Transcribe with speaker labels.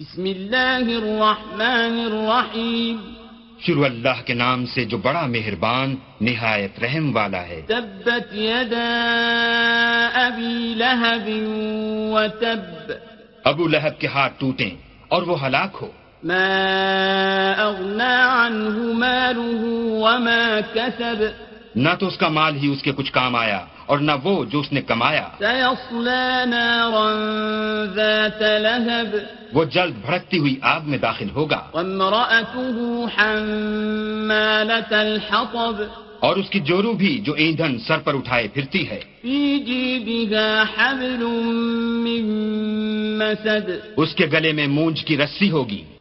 Speaker 1: بسم الله الرحمن الرحيم
Speaker 2: शुरू अल्लाह के नाम से जो बड़ा मेहरबान निहायत रहम वाला है
Speaker 1: تبت يدا أبي لهب وتب
Speaker 2: अबू लहब के हाथ टूटे और वो हलाक हो
Speaker 1: ما أغنى عنه ماله وما كسب
Speaker 2: न तो उसका माल ही उसके कुछ काम आया और न वो जो उसने कमाया
Speaker 1: سيصلى نارا ذات لهب
Speaker 2: वो जल्द भड़कती हुई आग में दाखिल होगा
Speaker 1: وامرأته حمالة الحطب
Speaker 2: और उसकी जोरू भी जो ईंधन सर पर उठाए फिरती है
Speaker 1: في جيدها حبل من مسد
Speaker 2: उसके गले में मूंज की रस्सी होगी